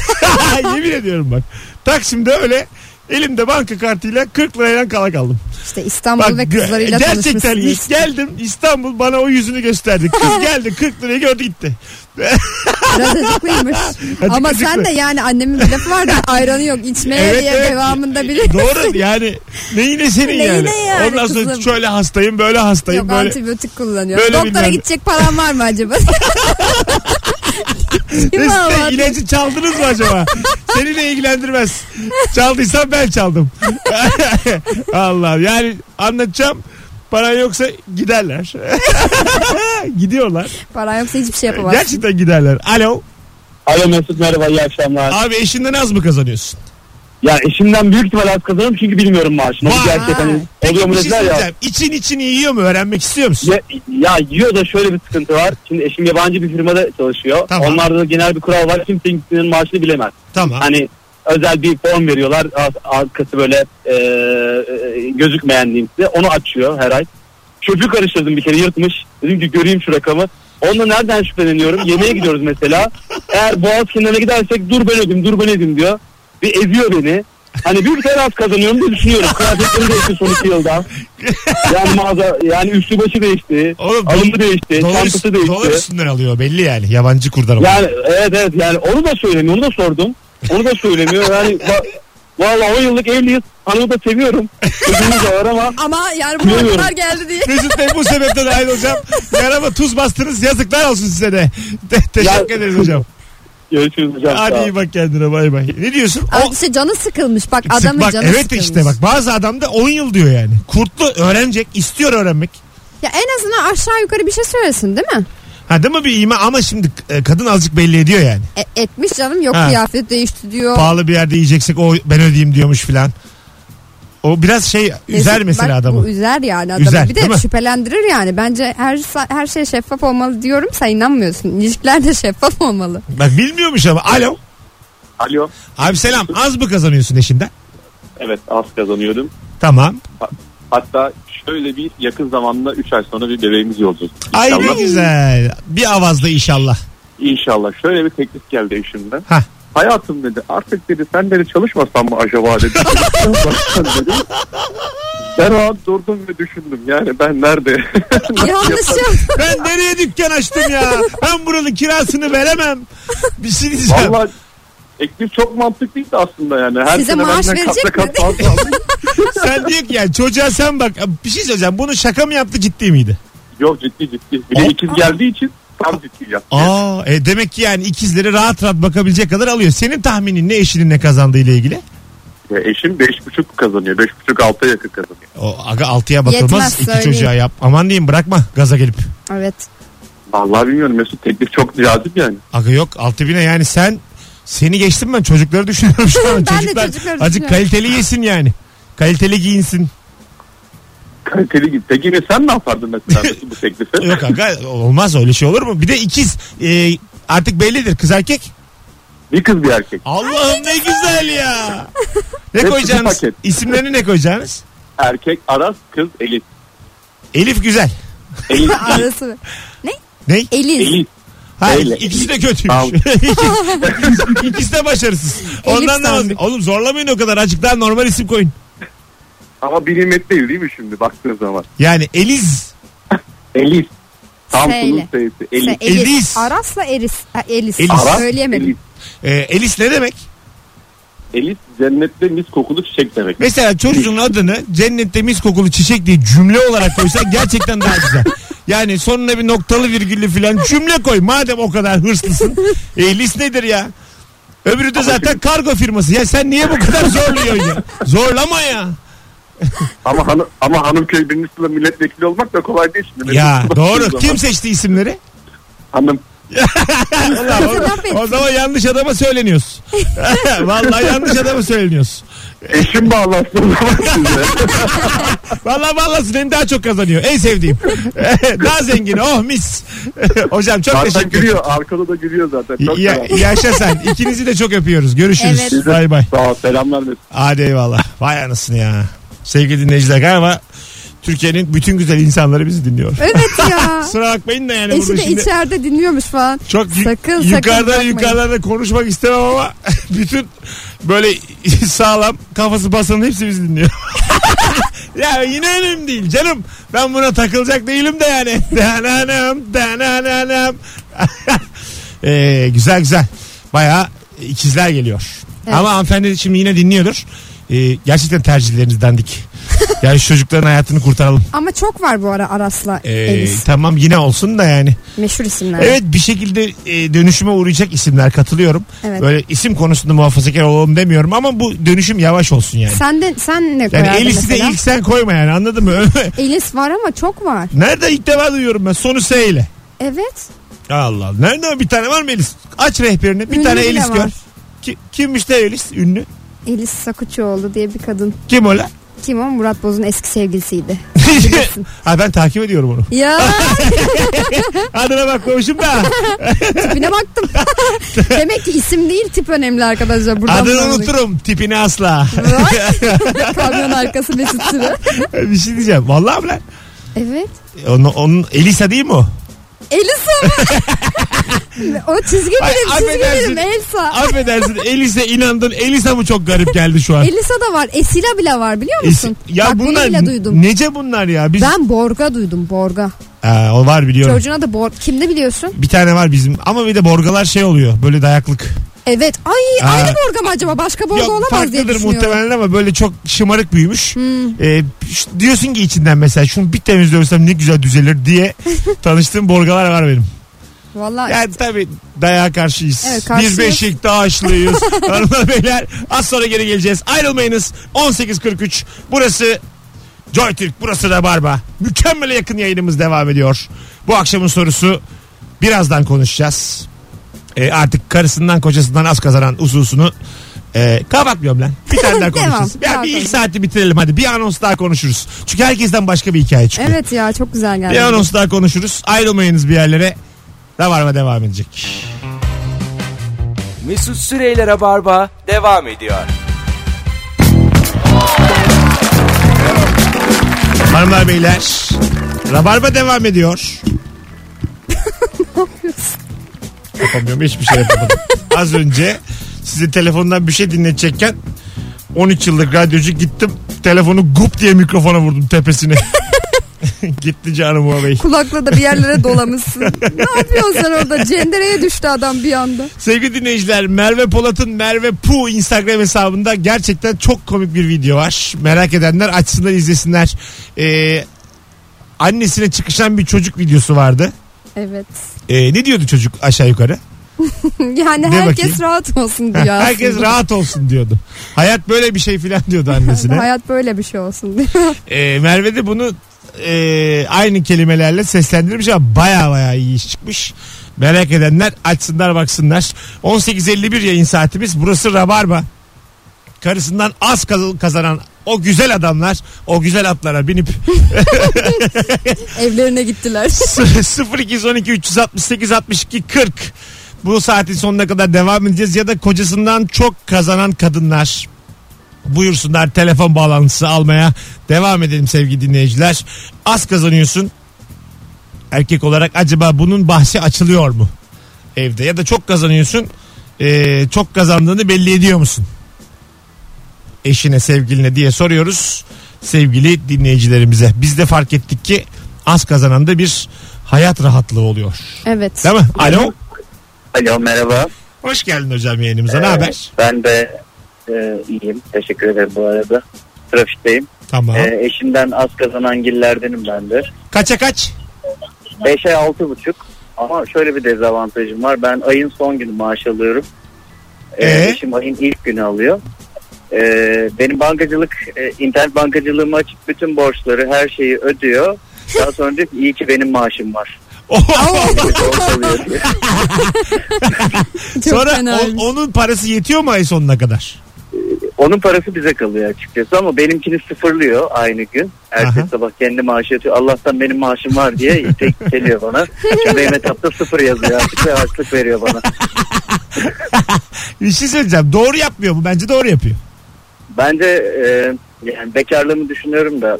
Yemin ediyorum bak. Taksim'de öyle elimde banka kartıyla 40 lirayla kala kaldım. işte İstanbul ve gö- kızlarıyla Gerçekten ilk tanışmışsınız. geldim İstanbul bana o yüzünü gösterdi. Kız geldi 40 lirayı gördü gitti. Biraz acıklıymış. Ama acıklı. sen de yani annemin bir lafı vardı. Ayranı yok içmeye Evet, diye evet. devamında bilir. Doğru yani neyine senin Neyine yani. yani Ondan sonra kızım? şöyle hastayım böyle hastayım Yok böyle. antibiyotik kullanıyor. Böyle Doktora bilmem ne. gidecek paran var mı acaba? Kim Mesut Bey, ağladı? ilacı çaldınız mı acaba? Seninle ilgilendirmez. Çaldıysam ben çaldım. Allah yani anlatacağım. Paran yoksa giderler. Gidiyorlar. Paran yoksa hiçbir şey yapamaz. Gerçekten giderler. Alo. Alo Mesut merhaba iyi akşamlar. Abi eşinden az mı kazanıyorsun? Ya eşimden büyük ihtimal az kazanırım çünkü bilmiyorum maaşını. Vay. Bu gerçek hani Peki oluyor mu bir şey dediler ya. söyleyeceğim. İçin için iyi yiyor mu? Öğrenmek istiyor musun? Ya, ya yiyor da şöyle bir sıkıntı var. Şimdi eşim yabancı bir firmada çalışıyor. Tamam. Onlarda da genel bir kural var. Kimse kimsenin maaşını bilemez. Tamam. Hani özel bir form veriyorlar. Ar- Arkası böyle e, e, gözükmeyen diyeyim size. Onu açıyor her ay. Çöpü karıştırdım bir kere yırtmış. Dedim ki göreyim şu rakamı. Onunla nereden şüpheleniyorum? Yemeğe gidiyoruz mesela. Eğer boğaz kenarına gidersek dur ben ödeyim dur ben ödeyim diyor. Bir eziyor beni. Hani büyük bir az kazanıyorum diye düşünüyorum. Kıyafetlerim değişti son iki yılda. Yani mağaza yani üstü başı değişti. Oğlum, alımı değişti. Dolar, Çantası üst- değişti. dolar üstünden alıyor belli yani. Yabancı kurdan alıyor. Yani evet evet yani onu da söylemiyor. Onu da sordum. Onu da söylemiyor. Yani va- Valla 10 yıllık evliyiz. Hanımı da seviyorum. Çocuğumuz da var ama Ama yani bu Bilmiyorum. kadar geldi diye. Mesut Bey bu sebepten ayrılacağım. Yarama tuz bastınız. Yazıklar olsun size de. Te- teşekkür Ya- ederiz hocam. görüşürüz hocam. Hadi Sağ ol. iyi bak kendine bay bay. Ne diyorsun? Ama O- işte canı sıkılmış. Bak adamın bak, canı evet sıkılmış. işte bak bazı adam da 10 yıl diyor yani. Kurtlu öğrenecek, istiyor öğrenmek. Ya en azından aşağı yukarı bir şey söylesin değil mi? Ha değil mi bir ima ama şimdi e, kadın azıcık belli ediyor yani. E- etmiş canım yok Ha. kıyafet değişti diyor. Pahalı bir yerde yiyeceksek o ben ödeyeyim diyormuş filan. O biraz şey Neyse, üzer mesela bak, adamı. Bu üzer yani adamı. Üzer, bir değil de mi? şüphelendirir yani. Bence her sa- her şey şeffaf olmalı diyorum. Sen inanmıyorsun. İlişkiler de şeffaf olmalı. Bak bilmiyormuş ama. Alo. Alo. Abi selam. Az mı kazanıyorsun eşinden? Evet az kazanıyordum. Tamam. Hatta şöyle bir yakın zamanda 3 ay sonra bir bebeğimiz olacak. Ay İnşallah. ne güzel. Bir avazda inşallah. İnşallah. Şöyle bir teklif geldi eşimden. Hah. Hayatım dedi artık dedi sen dedi çalışmasan mı acaba dedi. Çalışmasan dedi. Ben o an durdum ve düşündüm yani ben nerede? Yanlışım. Ben nereye dükkan açtım ya? Ben buranın kirasını veremem. Bir şey diyeceğim. Valla teklif çok mantıklıydı aslında yani. Her Size sene maaş benden verecek kat mi? kat fazla aldı. Sen diyor ki yani çocuğa sen bak. Bir şey söyleyeceğim. Bunu şaka mı yaptı ciddi miydi? Yok ciddi ciddi. Bir de ikiz geldiği için tam ciddi yaptı. Aa, e demek ki yani ikizleri rahat rahat bakabilecek kadar alıyor. Senin tahminin ne eşinin ne kazandığı ile ilgili? Ya Eşim 5,5 kazanıyor. 5,5 alta yakın kazanıyor. O aga altıya bakılmaz. Yetmez, iki söyleyeyim. çocuğa yap. Aman diyeyim bırakma gaza gelip. evet. Vallahi bilmiyorum Mesut teklif çok cazip yani. Aga yok altı bine yani sen seni geçtim ben çocukları düşünüyorum şu an. Ben de Çocuklar çocukları Azıcık düşünüyorum. kaliteli yesin yani. Kaliteli giyinsin. Kaliteli gibi. Peki ve sen ne yapardın mesela Mesut bu teklifi? Yok aga olmaz öyle şey olur mu? Bir de ikiz e, artık bellidir kız erkek. Bir kız bir erkek. Allah'ım ne güzel ya. Ne Hepsi bir koyacaksınız? paket. İsimlerini ne koyacaksınız? Erkek Aras, kız Elif. Elif güzel. Elif değil, Arası. Ne? Ney? Eliz. Elif. Ha, Öyle. ikisi de kötüymüş. Tamam. İkisi- ikisi de başarısız. Ondan da sandık. Oğlum zorlamayın o kadar. Azıcık daha normal isim koyun. Ama bir nimet değil değil mi şimdi baktığın zaman? Yani Eliz. Elis. Samsun'un Seyle. sayısı. Se- Elis. Elis. Elis. Aras'la Eris. Ha, Elis. Elis. Aras, Söyleyemedim. Elis. Ee, Elis ne demek? Elis cennette mis kokulu çiçek demek. Mesela çocuğun adını cennette mis kokulu çiçek diye cümle olarak koysan gerçekten daha güzel. Yani sonuna bir noktalı virgüllü filan cümle koy. Madem o kadar hırslısın. Elis nedir ya? Öbürü de zaten kargo firması. Ya sen niye bu kadar zorluyorsun ya? Zorlama ya. Ama hanım ama Hanımköy birincisiyle milletvekili olmak da kolay değil şimdi. Ya Bizim doğru. zaman Kim seçti isimleri? Hanım Vallahi Laf o, o etsin. zaman yanlış adama söyleniyoruz. Vallahi yanlış adama söyleniyoruz. eşim bağlansın o zaman size. Vallahi vallahi benim daha çok kazanıyor. En sevdiğim. daha zengin. Oh mis. Hocam çok Zaten teşekkür gülüyor. Arkada da gülüyor zaten. Çok Ya, ya, yaşa sen. İkinizi de çok öpüyoruz. Görüşürüz. Evet. Bay bay. Sağ ol. Selamlar. Mesut. Hadi eyvallah. Vay anasını ya. Sevgili dinleyiciler galiba Türkiye'nin bütün güzel insanları bizi dinliyor. Evet ya. Kusura bakmayın da yani Eşi burada de şimdi içeride dinliyormuş falan. çok yü- Sakın, sakın yukarıdan yapmayın. yukarıdan da konuşmak istemem ama bütün böyle sağlam kafası basanın hepsi bizi dinliyor. ya yine önemli değil canım. Ben buna takılacak değilim de yani. Dananam, dananam. Ee, güzel güzel. Bayağı ikizler geliyor. Evet. Ama hanımefendi şimdi yine dinliyordur. Ee, gerçekten tercihleriniz dandik. Yani şu çocukların hayatını kurtaralım. Ama çok var bu ara Aras'la Ee, Elis. tamam yine olsun da yani. Meşhur isimler. Evet bir şekilde e, dönüşüme uğrayacak isimler katılıyorum. Evet. Böyle isim konusunda muhafazakar olalım demiyorum ama bu dönüşüm yavaş olsun yani. Sen de sen ne Yani koyardın Elis'i de mesela? ilk sen koyma yani anladın mı? Elis var ama çok var. Nerede ilk defa duyuyorum ben sonu S ile. Evet. Allah Allah. Nerede o? bir tane var mı Elis? Aç rehberini bir Ünlü tane bile Elis var. gör. Ki- kimmiş de Elis ünlü? Elis Sakuçuoğlu diye bir kadın. Kim o la? Kim o? Murat Boz'un eski sevgilisiydi. ha ben takip ediyorum onu. Ya Adına bakmamışım da. tipine baktım. Demek ki isim değil tip önemli arkadaşlar. Buradan Adını sonra- unuturum tipini asla. Vay. Kamyon arkası Mesut Süre. bir şey diyeceğim. Vallahi mi lan? Evet. Onun, onun Elisa değil mi o? Elisa mı? o çizgi Ay, bilim, çizgi affedersin. bilim Elsa. Affedersin Elisa inandın. Elisa mı çok garip geldi şu an? Elisa da var. Esila bile var biliyor Elisa- musun? ya Bak bunlar bunu bile duydum. nece bunlar ya? Biz Ben Borga duydum Borga. Ha, o var biliyorum. Çocuğuna da Borga. Kimde biliyorsun? Bir tane var bizim ama bir de borgalar şey oluyor böyle dayaklık. Evet. Ay Ha. aynı Borga mı acaba? Başka Borga Yok, olamaz diye farklıdır düşünüyorum. Hmm. muhtemelen ama böyle çok şımarık büyümüş. Ee, ş- diyorsun ki içinden mesela şunu bir temiz dövsem ne güzel düzelir diye tanıştığım borgalar var benim. Vallahi Yani tabii dayağa karşıyız. Evet, Biz karşıyız. Beşiktaşlıyız. Hanımlar beyler az sonra geri geleceğiz. Ayrılmayınız. 18.43 burası Joy Türk burası da Barba. Mükemmele yakın yayınımız devam ediyor. Bu akşamın sorusu birazdan konuşacağız. Ee, artık karısından kocasından az kazanan hususunu e, kapatmıyorum lan. Bir tane daha Devam, konuşuruz. ya devam bir ilk konuşuruz. saati bitirelim hadi. Bir anons daha konuşuruz. Çünkü herkesten başka bir hikaye çıktı. Evet ya çok güzel geldi. Bir anons daha konuşuruz. Ayrılmayınız bir yerlere. Rabarba devam edecek. Mesut Süreyler'e barba devam ediyor. Hanımlar beyler. Rabarba devam ediyor. Yapamıyorum hiçbir şey yapamadım. Az önce size telefondan bir şey dinletecekken 13 yıllık radyocu gittim. Telefonu gup diye mikrofona vurdum tepesine. Gitti canım o bey. Kulakla da bir yerlere dolamışsın. ne yapıyorsun sen orada? Cendereye düştü adam bir anda. Sevgili dinleyiciler Merve Polat'ın Merve Pu Instagram hesabında gerçekten çok komik bir video var. Merak edenler açsınlar izlesinler. Ee, annesine çıkışan bir çocuk videosu vardı. Evet. Ee, ne diyordu çocuk aşağı yukarı? Yani De herkes bakayım. rahat olsun diyor aslında. Herkes rahat olsun diyordu. Hayat böyle bir şey filan diyordu annesine. Hayat böyle bir şey olsun diyor. Ee, Merve de bunu e, aynı kelimelerle seslendirmiş ama baya baya iyi iş çıkmış. Merak edenler açsınlar baksınlar. 18.51 yayın saatimiz. Burası Rabarba. Karısından az kaz- kazanan o güzel adamlar o güzel atlara binip Evlerine gittiler. 0212 368 62 40 bu saatin sonuna kadar devam edeceğiz ya da kocasından çok kazanan kadınlar buyursunlar telefon bağlantısı almaya devam edelim sevgili dinleyiciler az kazanıyorsun erkek olarak acaba bunun bahsi açılıyor mu evde ya da çok kazanıyorsun ee, çok kazandığını belli ediyor musun eşine sevgiline diye soruyoruz sevgili dinleyicilerimize. Biz de fark ettik ki az kazanan da bir hayat rahatlığı oluyor. Evet. Değil mi? Alo. Alo merhaba. Hoş geldin hocam yayınımıza. Ne Ee, haber? Ben de e, iyiyim. Teşekkür ederim bu arada. Trafikteyim. Tamam. E, eşimden az kazanan gillerdenim ben de. Kaça kaç? 5'e altı buçuk. Ama şöyle bir dezavantajım var. Ben ayın son günü maaş alıyorum. Ee, Ee? Eşim ayın ilk günü alıyor. Ee, benim bankacılık, e, internet bankacılığımı açıp bütün borçları, her şeyi ödüyor. Daha sonra diyor ki iyi ki benim maaşım var. Oh, Borç alıyor diyor. Çok Sonra o- fenaymış. onun parası yetiyor mu ay sonuna kadar? Onun parası bize kalıyor açıkçası ama benimkini sıfırlıyor aynı gün. Ertesi Aha. sabah kendi maaşı yatıyor. Allah'tan benim maaşım var diye tek geliyor bana. Şimdi benim etapta sıfır yazıyor artık ve harçlık veriyor bana. Bir şey söyleyeceğim. Doğru yapmıyor mu? Bence doğru yapıyor. Bence e, yani bekarlığımı düşünüyorum da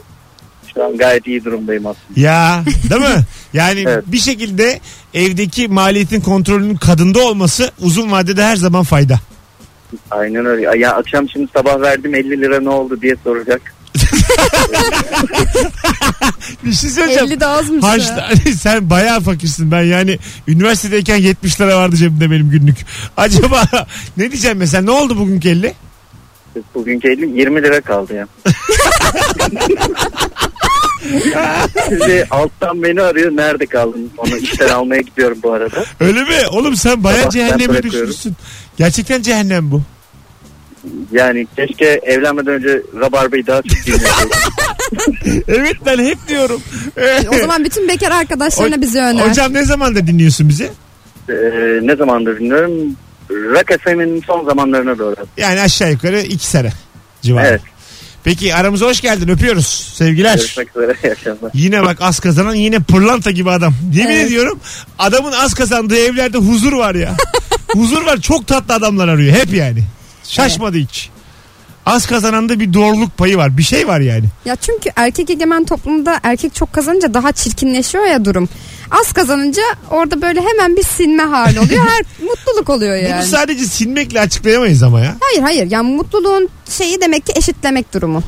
şu an gayet iyi durumdayım aslında. Ya değil mi? Yani Evet. bir şekilde evdeki maliyetin kontrolünün kadında olması uzun vadede her zaman fayda. Aynen öyle. Ya akşam şimdi sabah verdim 50 lira ne oldu diye soracak. Bir şey söyleyeceğim. 50 de azmış ya. Harçta, sen bayağı fakirsin ben yani üniversitedeyken 70 lira vardı cebimde benim günlük. Acaba ne diyeceğim mesela ne oldu bugünkü 50? Bugünkü 50 20 lira kaldı ya. Şimdi alttan beni arıyor. Nerede kaldın? Onu işten almaya gidiyorum bu arada. Öyle mi? Oğlum sen bayağı Sabah ben cehenneme bırakıyorum. düşmüşsün. Gerçekten cehennem bu. Yani keşke evlenmeden önce Rabarba'yı daha çok dinleseydim. Evet ben hep diyorum. E, O zaman bütün bekar arkadaşlarına bizi öner. Hocam ne zaman da dinliyorsun bizi? Ee, ne zamandır dinliyorum? Rock FM'in son zamanlarına doğru. Yani aşağı yukarı 2 sene civarı. Evet. Peki aramıza hoş geldin öpüyoruz. Sevgiler. Görüşmek üzere. İyi akşamlar. Yine bak az kazanan yine pırlanta gibi adam. Yemin Evet. ediyorum adamın az kazandığı evlerde huzur var ya. huzur var çok tatlı adamlar arıyor hep yani. Şaşmadı hiç. Az kazananda bir doğruluk payı var. Bir şey var yani. Ya çünkü erkek egemen toplumda erkek çok kazanınca daha çirkinleşiyor ya durum. Az kazanınca orada böyle hemen bir sinme hali oluyor. Her mutluluk oluyor yani. Bunu sadece silmekle açıklayamayız ama ya. Hayır hayır yani mutluluğun şeyi demek ki eşitlemek durumu.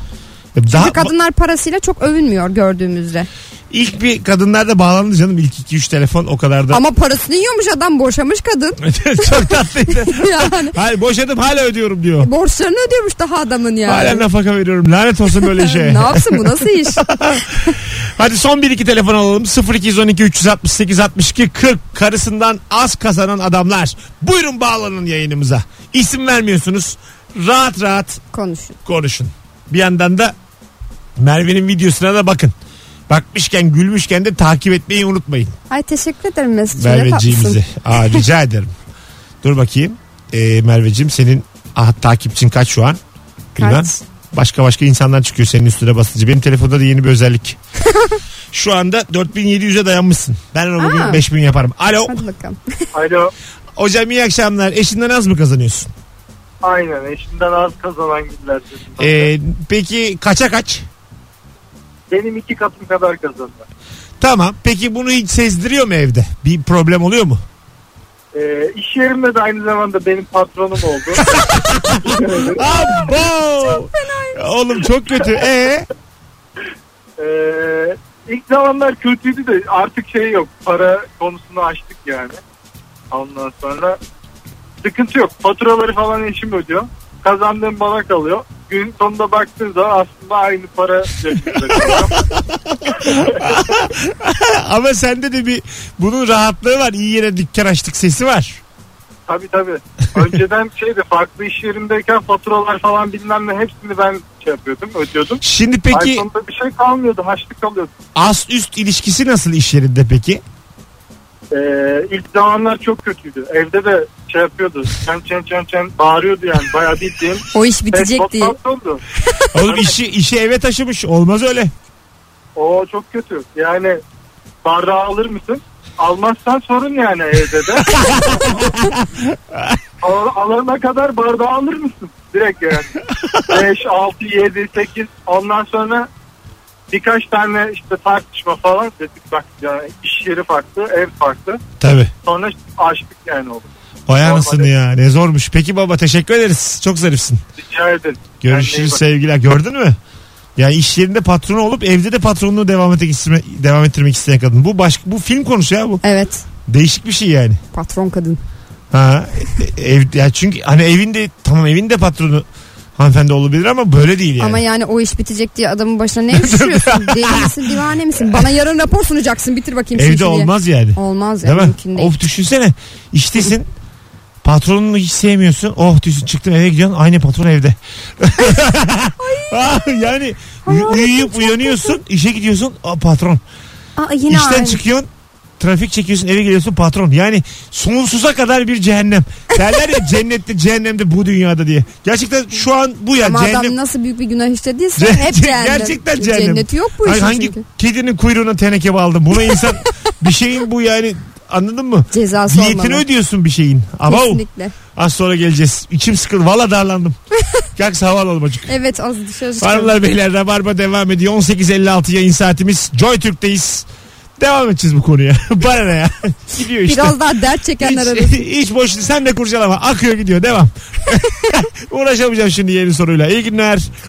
Çünkü kadınlar parasıyla çok övünmüyor gördüğümüzde. İlk bir kadınlarda bağlandı canım. İlk 2-3 telefon o kadar da. Ama parasını yiyormuş adam boşamış kadın. Çok tatlıydı. yani Hayır boşadım hala ödüyorum diyor. borçlarını ödüyormuş daha adamın yani. Hala nafaka veriyorum. Lanet olsun böyle şey. ne yapsın bu nasıl iş? Hadi son bir iki telefon alalım. 0212 368 62 40 karısından az kazanan adamlar. Buyurun bağlanın yayınımıza. İsim vermiyorsunuz. Rahat rahat Konuşun. konuşun. Bir yandan da Merve'nin videosuna da bakın. Bakmışken gülmüşken de takip etmeyi unutmayın. Ay teşekkür ederim Mesut'cum. ne tatlısın. Merveciğimizi. Aa, rica ederim. Dur bakayım. Ee, Merveciğim senin ah, takipçin kaç şu an? Bilmem. Kaç? Başka başka insanlar çıkıyor senin üstüne basınca. Benim telefonda da yeni bir özellik. şu anda 4700'e dayanmışsın. Ben onu bugün Aa. 5000 yaparım. Alo. Hadi bakalım. Alo. Hocam iyi akşamlar. Eşinden az mı kazanıyorsun? Aynen eşinden az kazanan gibiler. dedim. Ee, peki kaça kaç? Benim iki katım kadar kazandı. Tamam. Peki bunu hiç sezdiriyor mu evde? Bir problem oluyor mu? Ee, iş yerimde de aynı zamanda benim patronum oldu. Abo! Oğlum çok kötü. Ee? Ee, ilk zamanlar kötüydü de artık şey yok. Para konusunu açtık yani. Ondan sonra sıkıntı yok. Faturaları falan eşim ödüyor. Kazandığım bana kalıyor. Gün sonunda baktığın zaman aslında aynı para cebimizde kalıyor. Ama sende de bir bunun rahatlığı var. İyi yere dükkan açtık sesi var. tabii tabii. Önceden şeydi farklı iş yerindeyken faturalar falan bilmem ne hepsini ben şey yapıyordum ödüyordum. Şimdi Ay peki sonunda bir şey kalmıyordu haçlık kalıyordu. ast üst ilişkisi nasıl iş yerinde peki? Ee, ilk zamanlar çok kötüydü. Evde de şey yapıyordu. Çen çen çen çen bağırıyordu yani. Bayağı bildiğin O iş bitecek Tek diye. oldu. Oğlum işi işi eve taşımış. Olmaz öyle. O çok kötü. Yani bardağı alır mısın? Almazsan sorun yani evde de. Al- alana kadar bardağı alır mısın? Direkt yani. 5, 6, 7, 8 ondan sonra birkaç tane işte tartışma falan dedik bak yani iş yeri farklı, ev farklı. Tabii. Sonra açtık yani oldu. Vay Normal. anasını ya. Ne zormuş. Peki baba teşekkür ederiz. Çok zarifsin. Rica ederim. Kendine iyi Görüşürüz bak. sevgiler. Gördün mü? Yani iş yerinde patronu olup evde de patronluğu devam, etmek isteme, devam ettirmek isteyen kadın. Bu başka bu film konusu ya bu. Evet. Değişik bir şey yani. Patron kadın. Ha e- ev ya çünkü hani evinde tamam evinde patronu hanımefendi olabilir ama böyle değil yani. Ama yani o iş bitecek diye adamın başına ne düşürüyorsun? Deli misin divane misin? Bana yarın rapor sunacaksın bitir bakayım şu işi Evde diye. olmaz yani. Olmaz ya Değil mi? mümkün değil. Of düşünsene. İştesin. Patronunu hiç sevmiyorsun. Oh diyorsun çıktın eve gidiyorsun. Aynı patron evde. Ah, yani uy- uyuyup uyanıyorsun. işe gidiyorsun. Aa, patron. Aa, yine İşten aynı. çıkıyorsun. Trafik çekiyorsun eve geliyorsun patron. Yani sonsuza kadar bir cehennem. Derler ya cennette cehennemde bu dünyada diye. Gerçekten şu an bu ya Ama adam cehennem. nasıl büyük bir günah işlediyse Ce- hep ce- cehennem. Gerçekten cehennem. Cenneti yok bu Hani işin Hangi çünkü. kedinin kuyruğuna teneke bağladım. Buna insan bir şeyin bu yani anladın mı? Cezası Diyetini olmalı. ödüyorsun bir şeyin. Ama o- Kesinlikle. az sonra geleceğiz. İçim sıkıldı. Valla darlandım. Kalksa hava alalım acık. Evet az dışarı çıkalım. Hanımlar beyler Rabarba devam ediyor. 18.56 yayın saatimiz. Joy Türk'teyiz. Devam edeceğiz bu konuya. Bana ne ya? Gidiyor işte. Biraz daha dert çekenler arasında. hiç, hiç boş sen de kurcalama. Akıyor gidiyor. Devam. Uğraşamayacağım şimdi yeni soruyla. İyi günler.